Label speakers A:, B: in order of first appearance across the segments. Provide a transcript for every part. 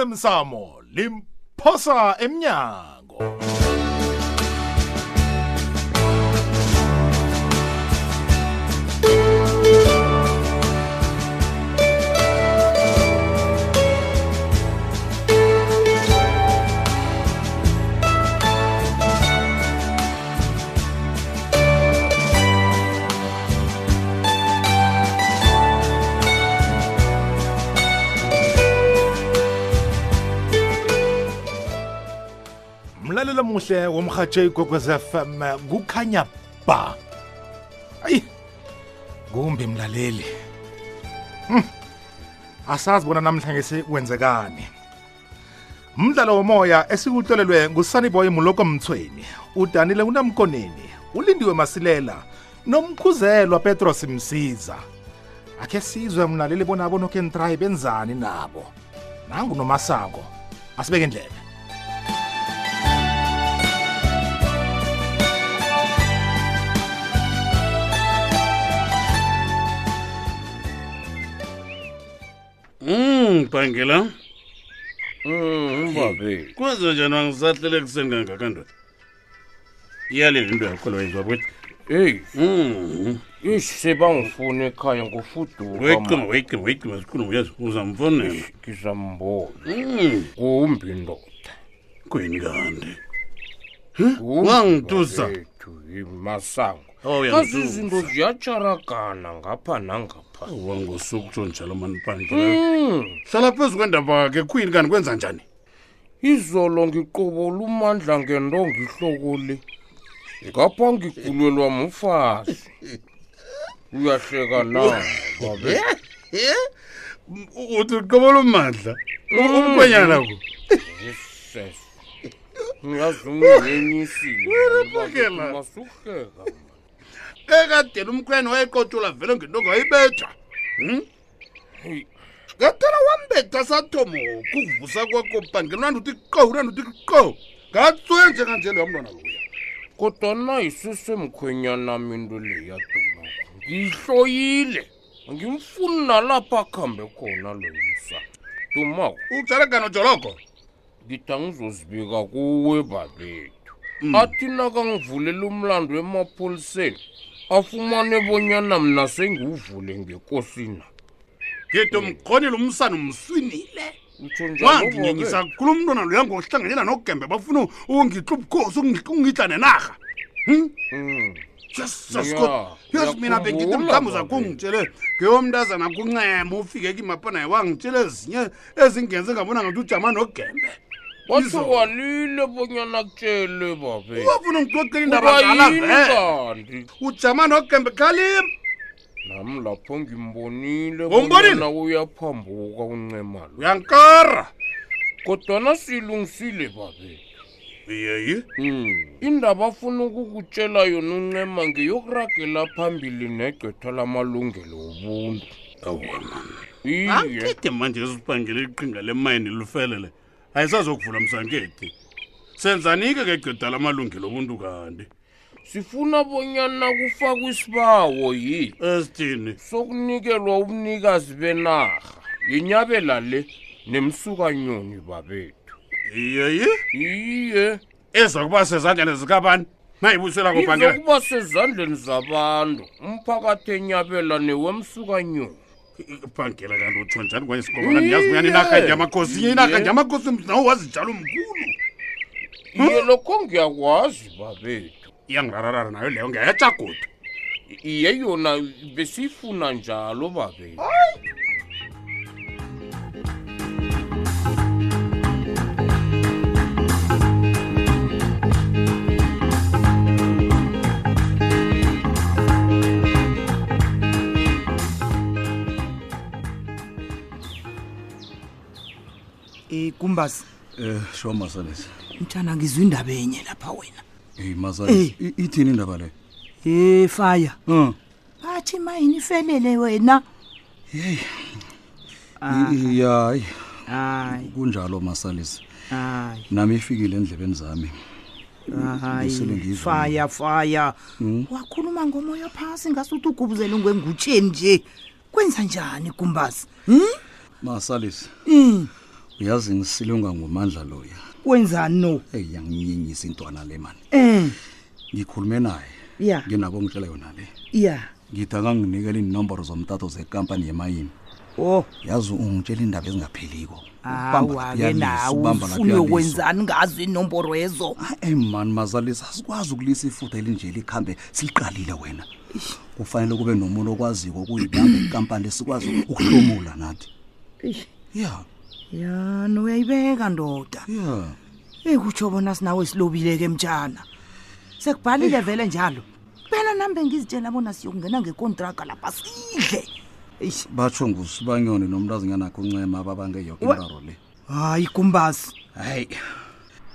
A: osemsamo limphosa emnyango mlalelo muhle womhatshe igogwez fm kukhanya ba ayi kumbi mlaleli Hmm. asazi bona namhlanje sekwenzekani umdlalo womoya esikuhlolelwe ngusaniboy muloko mthweni udanile unamkoneni ulindiwe masilela nomkhuzelwa petros msiza akhe sizwe mlaleli bona abonokentrayi benzani nabo nangu nomasango asibeke indlebe
B: Mm, Bangela.
C: Ungabe.
B: Kwenza njani wangisahlele ekuseni kangaka ndoda? Iyalile into yakho lo yenziwa kuthi.
C: Hey,
B: Mm.
C: ish sebangifuna ekhaya ngofuduka.
B: Wecima,
C: man.
B: wecima, wecima sikhulu uyazi uzamfonela.
C: Ngizambona.
B: Mm.
C: Kumbi ndoda.
B: Kweni kanti?
C: Kumbi
B: Wangitusa.
C: bafethu, hey, Masango.
B: Oh,
C: Kazi
B: uyangitusa.
C: izinto ziyatsharakana ngapha nangapha.
B: Wangosukutsho njalo mani Bangela.
C: Mm.
B: Hlala phezu kwendaba ke Queen kanti kwenza njani?
C: Izolo ngiqobola umandla ngendonga ihloko le. Ngapha ngigulelwa mufazi. Uyahleka na, babe.
B: Eh? Uthi uqobola umandla. Umkhwenyana ku.
C: Jesus. Ngiyazi ungiyenyisile.
B: Phakela.
C: Masuhleka.
B: Ekadela umkhweni wayeqotshula vele ngendonga wayibetha. Mm.
C: Hey,
B: ngatela wambetha sathomo kuvusa kwakho bhangelwa ndithi qo ura ndithi qo ngatsuye njekanje leyo mntwana loya
C: kodwana isesemkhwenyana minto le yaduma ngiyihloyile ngimfuni nalapha akuhambe khona loyisa dumako
B: ujarakano joloko
C: ngithi angizozibika kuwe babethu athi nakangivulela umlando emapholiseni 아, afumane bonyana mna sengiwuvule ngekosina
B: ngide mkhonile umsana umswinile
C: utsho
B: wanginyenyisa
C: njalo
B: khulu umntwana loya ngohlanganyela nogembe bafuna ungitla ubukhosi ungi- ungidla nenarha Hmm? Jesus
C: Ya,
B: God. yazi mina bengithi
C: ngiyakhumbula, babe.
B: mhlawumbi zakungitshele ngeyomntazana kuncema ufike kimapana ye wangitshele ezinye ezingenze ngabona ngathi ujama nogembe
C: wathi
B: izolo.
C: walile bonyana kutshele babethu
B: uwafuna ngixoxela indaba zala
C: kubayini
B: vele
C: kanti
B: ujama nogembe khalim
C: nami lapho ngimbonile
B: Umbonile?
C: bonyana uyaphambuka uncema lo
B: uyankara
C: kodwana siyilungisile babe Hmm.
B: yeyi
C: indaba afuna ukukutshela yona uncema ngeyokuragela phambili negqwetha lamalungelo wobuntu iye
B: ankede manje esibhangele iqhinga lemayini lufelele ayisazokuvula msankedi senzani-ke ngegqida lamalungelo obuntu kanti
C: sifuna bonyana kufakwe isibawo yi
B: esithini
C: sokunikelwa ubunikazi benarha yinyabela le nemsukanyoni babethu
B: yeyi
C: iye
B: eza kuba sezandlane zikabani mayibusela kobhangela
C: izokuba sezandleni zabantu umphakathi enyabela newemsukanyoni
B: bhangela kanti utsho njani kwanye sikobananiyazi uyani inarha njamakhosi inye inarha
C: Iye.
B: njamakhosi nawo wazinjalo mkhulu
C: iye lokho ngiyakwazi babethu
B: iyangirararara nayo leyo ngeyetsha godu
C: iye yona besiyifuna njalo babethu
D: ikumbasi
E: Eh, sho masalesi.
D: mtshana ngizwa indaba enye lapha wena
E: Hey masalesi, i- ithini indaba le?
D: e faya
E: Mhm.
D: bathi mayini ifelele wena
E: Ya, hayi,
D: hayi
E: kunjalo masalesi.
D: hayi
E: Nami ifikile endlebeni zami. Ngisele
D: hayi
E: ngizwa.
D: faya faya wakhuluma ngomoya phasi ngasuthi ugubuzele Hm? ngwengutsheni nje kwenza njani kumbasi
E: Masalesi, uyazi ngisilunga ngumandla loya
D: wenzani no
E: eyi yanginyenyisa intwana le mani
D: um
E: ngikhulume naye
D: ya
E: nginako ngitshela yona le
D: ya
E: ngithi akanginikela iinomboro zomtato zekampani yemayini
D: o
E: yazi ungitshela iindaba ezingapheliko Ubamba lapha
D: awake nawe
E: uyalisa, ubamba lapha
D: ufune
E: uyalisa.
D: ukwenzani ngazo iinomboro ezo
E: hayi mani mazalisa asikwazi ukulisa ifutha elinje likhambe siliqalile wena kufanele kube nomuntu okwaziko ukuyibamba ikampani esikwazi ukuhlomula nathi ya
D: ya noyayibeka ndoda
E: ya
D: ekutsho bona sinawe silobileke mtshana sekubhalile vele njalo phela nambe ngizitshela bona siyokungena ngekontraga lapha sidle eish
E: batsho ngusibanyoni nomntazinyanakho uncema ababange yoke
D: Wa-
E: imraro le
D: hayi kumbazi
E: hayi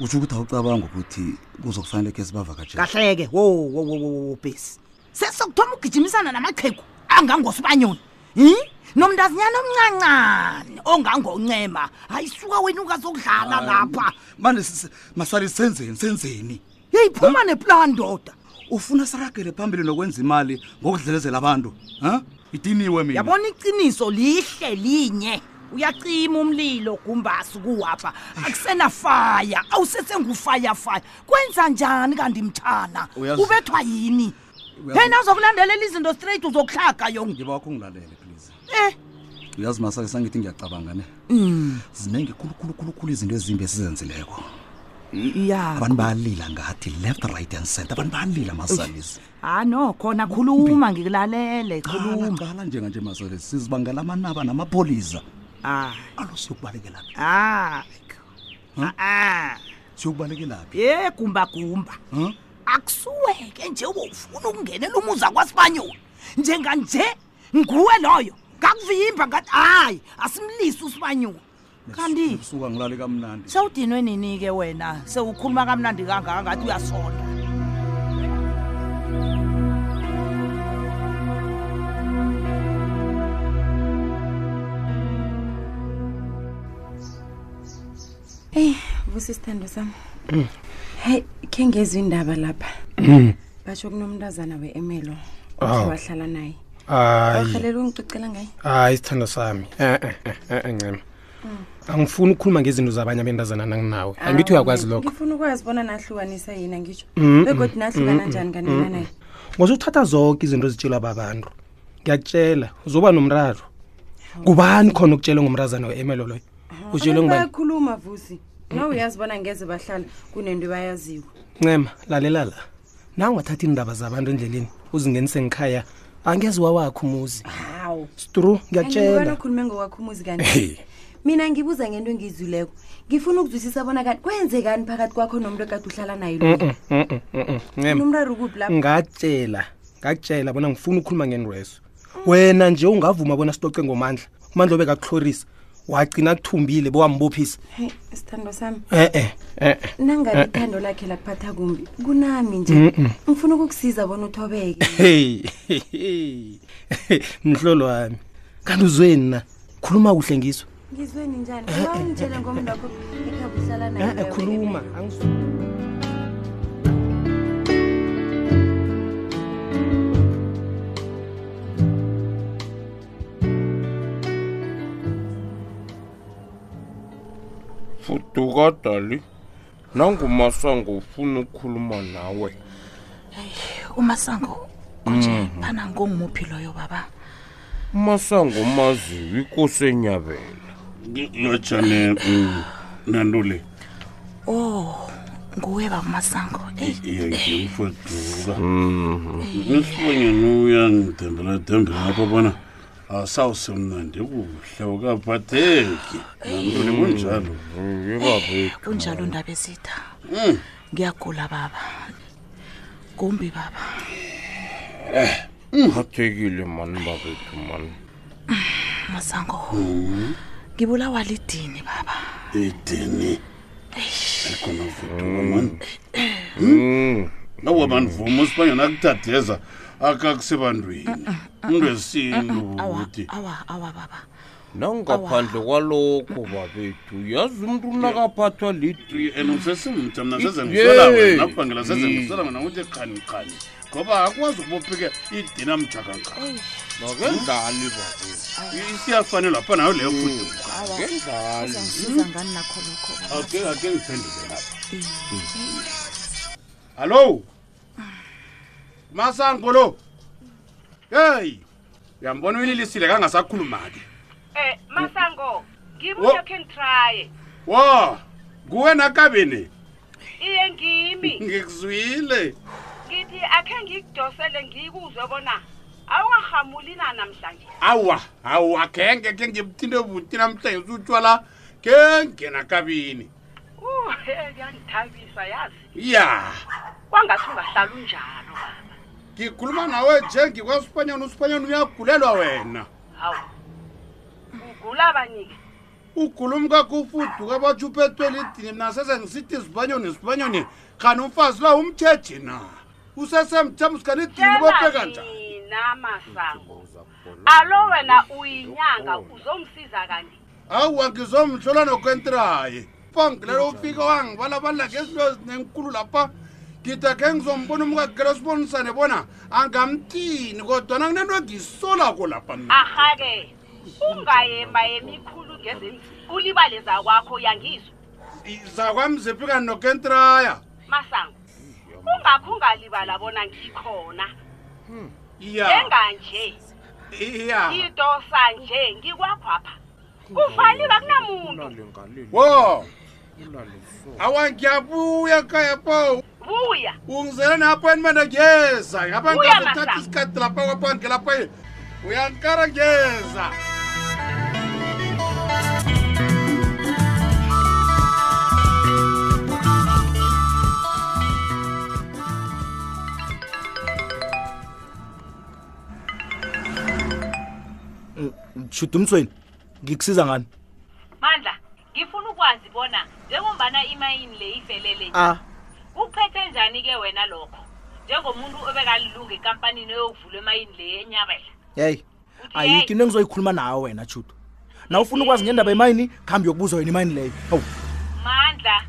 E: utsho ukuthi awucabanga ukuthi kuzokufanele khe sibavakatshele
D: kahleke wowowowo bhesi sesokuthoma ugijimisana namaqhegu angangosibanyoni hi nomntazinyana omncancane ongangoncema hayi suka wena ungazokudlala lapha
E: manje sis- masali senzeni senzeni
D: yeyiphuma neplan ndoda
E: ufuna saragele phambili nokwenza imali ngokudlelezela abantu ha itiniwe mina
D: yabona iciniso lihle linye uyacima umlilo gumbasi kuwapha akusenafaya awusesengufayafaya kwenza njani kanti mthana
E: Uyazi-
D: ubethwa yini
E: Uyazi-
D: yena uzokulandelela izinto straight uzokuhlaga yonke
E: ngiba wakho ungilalele please
D: Eh. Mm.
E: uyazi masali sangithi ngiyacabanga ne zinenge khulukhulukhulukhulu izinto ezimbi esizenzileko
D: ya
E: abantu balila ngathi left right and center abantu balila masalisi
D: hayi Ah, no khona khuluma ngikulalele khuluma
E: qala njenganje masalisi sizibangela amanaba namapholisa
D: Ah,
E: alo siyokubalekela
D: ah, ah,
E: siyokubalekela phi
D: ye gumba gumba
E: Huh?
D: akusuweke nje wofuna ukungenela umuza kwasibanyoni njenganje nguwe loyo ngakuvimba ngathi hayi asimlisi usibanyoni kanti
E: suka ngilale kamnandi
D: sewudinwe nini-ke wena sewukhuluma kamnandi kangaka ngathi uyasonda
F: eyi vusisithando sami
G: Mm.
F: hayi khe ngezwa indaba lapha batsho kunomntazana we-emelo
G: Awu.
F: wahlala naye
G: hayi
F: warhalela ungicocela ngaye
G: Ah, hayi isithando sami Eh, eh, eh, eh, eh, ncema angifuni ukukhuluma ngezinto zabanye abentazana nanginawe
F: Ah,
G: angithi uyakwazi lokho
F: ngifuna ukwazi bona nahlukanisa yini angitsho
G: Mm,
F: begodi nahlukana njani kanina naye
G: ngozuthatha zonke izinto zitshelwa babantu ngiyakutshela uzoba nomraro kubani khona ukutshelwe ngomrazana we-emelo loyo utshelwe
F: Abantu
G: ngubani
F: bayakhuluma vusi
G: Mm.
F: na uyazi bona ngeze bahlala kunento bayaziwa
G: ncema lalela la na ungathathi iindaba zabantu endleleni uzingenise ngikhaya angeziwa wakho umuzi
F: hawu
G: stru
F: angibona
G: ngiyakutshela
F: ukhulume ngokwakho umuzi kanti mina ngibuza ngento engiyizwileko ngifuna ukuzwisisa bona kanti kwenzekani phakathi kwakho nomuntu ekade uhlala naye lo
G: Mm, mm, mm, mm, mm. ncema
F: nomrari ukuphi lapho
G: ngatshela ngakutshela bona ngifuna ukukhuluma ngenreso wena nje ungavuma bona sicoce ngomandla umandla obekakuhlorisa wagcina kuthumbile bowambophisa
F: Hey, sithando sami
G: e-e e-e
F: nangabe ithando lakhe lakuphatha kumbi kunami nje ngifuna ukukusiza bona uthobeke
G: heyi mhlolo wami kanti uzweni na khuluma kuhle ngiso
F: ngizweni njani uba ungitshele ngomndakho ekhaba uhlala naye
G: e-e
F: wewe.
G: Eh, khuluma angiz-
C: fuduka dali nangumasango ufuna ukukhuluma nawe
H: umasango kunje phana ngongumuphi loyo baba
C: umasango maziwe ikosi enyabela
B: lotshane nantule
H: oh nguwe baba umasango eyi
B: iyangimfoduka esibanyeni uyangithandela thembela lapha bona asawusemnandi kuhle ukaphatheki nantule kunjalo
H: kunjalo ndaba ezitha
B: Mm.
H: ngiyagula baba kumbi baba
C: phathekile mani babethu mani
H: umasango ngibulawa lidini baba
B: idini ekhona fuduka mani Hmm? awa manivuma usibanyeni akutadeza akakusebantwini into esintu ukuthi
H: awa awa baba
C: nangaphandle kwalokho babethu yazi umntu unakaphathwa lidi
B: and usesemtsha mna
C: Yeah.
B: sezengisela wena phangela sezengisela wena ukuthi qhaniqhani ngoba akwazi ukubophike idina mjakaqhani
C: bakendlali babethu
B: isiyafanelwa pha nayo leyo fuduka
C: ngendlali
H: uzangisiza ngani nakho lokho baba
B: ake ake ngiphendule lapha Mm. hallo masango lo heyi uyambona uyililisile kangasakhuluma-ke
I: Eh, Masango,
B: Wo.
I: ngibuye can try.
B: wo nguwe nakabini
I: Iye ngimi,
B: ngikuzwile
I: ngithi akhe ngikudosele ngikuzwe bona awuhamuli na namhlanje.
B: awa awa khenge khe ngibuthinde buti namhlanje utshwala khenge nakabini
I: Uh, hey, yangithabisa yazi.
B: ya
I: Kwangathi ungahlala unjalo baba.
B: ngikhuluma nawe nje ngikwasipanyana usipanyana uyagulelwa wena
I: Hawu. Ugula abanike.
B: ukhulumka kufuduka batsho uphethwe lidini mna sese ngisithi sibanyoni sibanyoni khani umfazi lo umtsheji na usesemthamusikanidini bophe kanjani
I: mina Masango. Alo wena uyinyanga uzongisiza kanti.
B: awa ngizomhlola nokwentraye pangilelo ufike wangibalabala ngezinto ezinenkulu lapha ngida khe ngizombona umkagelo sibonisane bona angamtini kodwana kunento engiyisolako lapha mina
I: Aha ke. Ungayema emikhulu ngezemzi. Ulibale zakwakho yangizwa.
B: zakwamziphi kani nokentraya
I: masango kungakho ungalibala bona ngikhona
B: ya
I: njenganje
B: ya
I: ngidosa nje ngikwakhwapha kufaliba kunamuntu
B: wo awa ngiyabuya kaya po
I: buya
B: ungizele ne-appointment ngiyeza ngapha
I: Buya,
B: ngizothatha
I: Masango.
B: isikhathi lapha kwapha ngelapha uyankara ngiyeza
J: mshudumtsweni ngikusiza ngani
I: mandla ngifuna ukwazi bona njengombana imayini le ivelele nje
J: ah
I: kuphethe njani-ke wena lokho njengomuntu obekalilunga ekampanini eyokuvulwa emayini le enyabela
J: yeyi ayikho into engizoyikhuluma nayo wena judo na ufuna ukwazi ngendaba emayini khambi yokubuza wena imayini leyo hawu
I: mandla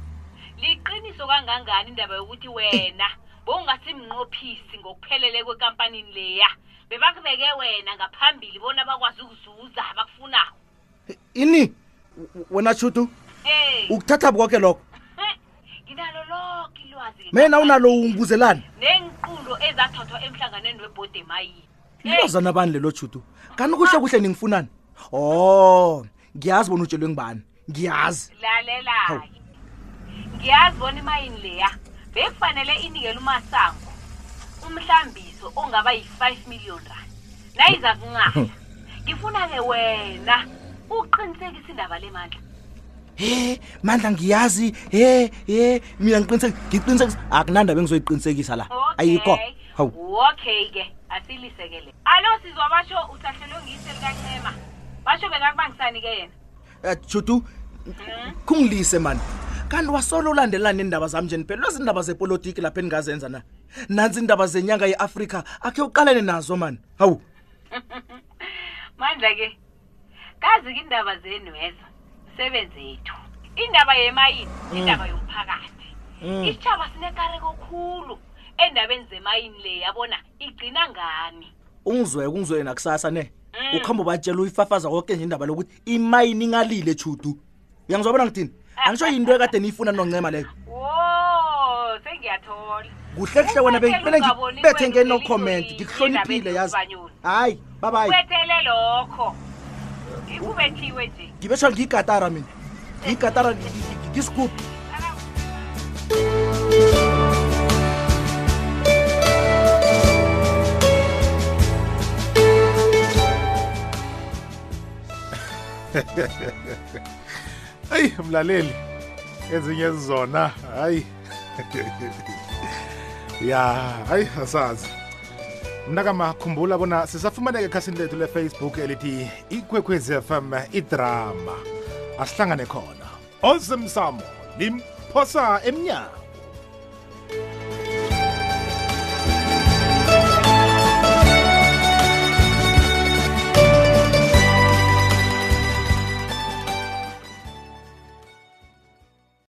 I: liqiniso kangangani indaba yokuthi wena bowungasimnqophisi ngokuphelele kwekampanini leya bebakubeke wena ngaphambili bona bakwazi ukuzuza abakufunayo
J: ini W- wena judo
I: Eh,
J: ukuthatha bukoke lokho
I: eh, nginalo lonke ilwazi
J: mena unalo ungibuzelani
I: neenqulo ezathathwa emhlanganweni webhodi emayini
J: lilozana bani lelo judo kani kuhle kuhle ningifunani oh ngiyazi bona utshelwe ngibani ngiyazi Hawu.
I: lalela-ke ngiyazi bona imayini leya bekufanele inikele umasango umhlambiso ongaba yi-five million rand nayiza kungala ngifuna-ke wena uqinisekisa indaba le mandla
J: he mandla ngiyazi he he mina ngiqiniseki ngiqinisekisa akunandaba engizoyiqinisekisa la ayikho
I: Okay.
J: hawu
I: okay-ke asilisekele alo sizwa basho usahlelwe ngise likancema basho bengakubangisani-ke yena
J: Eh, judu kungilise mani kanti wasolo ulandelelani neendaba zam nje niphelelwe ziindaba zepolitiki lapha endingazenza na nantsi iindaba zenyanga yeafrika akhe uqalane nazo mani hawu
I: mandla-ke kazi-ke indaba zenweza msebenzi yethu indaba yemayini indaba yomphakathi isitshaba sinekareko khulu endabeni zemayini le yabona igcina ngani
J: ungizweke ungizweke nakusasa ne ukuhamba ubatshela uyifafaza konke nje indaba lokuthi imayini ingalile judu uyangizwa bona ngithini angitsho yinto ekade niyifuna noncema leyo
I: wo sengiyathola
J: kuhle kuhle wena
I: Ubethele
J: bengibele
I: ungaboni
J: ngibethe
I: kwenu
J: ngenokhomment
I: ngelihlo linye
J: ngikuhloniphile
I: endabeni
J: yazi
I: zobanyoni.
J: hayi babayi
I: kwethele lokho ikubethiwe nje
J: ngibeshwa ngiyikatara mina ngiyikatara ngisigubhu
A: eyi mlaleli ezinye zona hayi ya hayi asazi mna kamakhumbula bona sisafumaneka ekhasini lethu lefacebook elithi ikwekwezi fm idrama asihlangane khona ozimsamo limphosa emnyango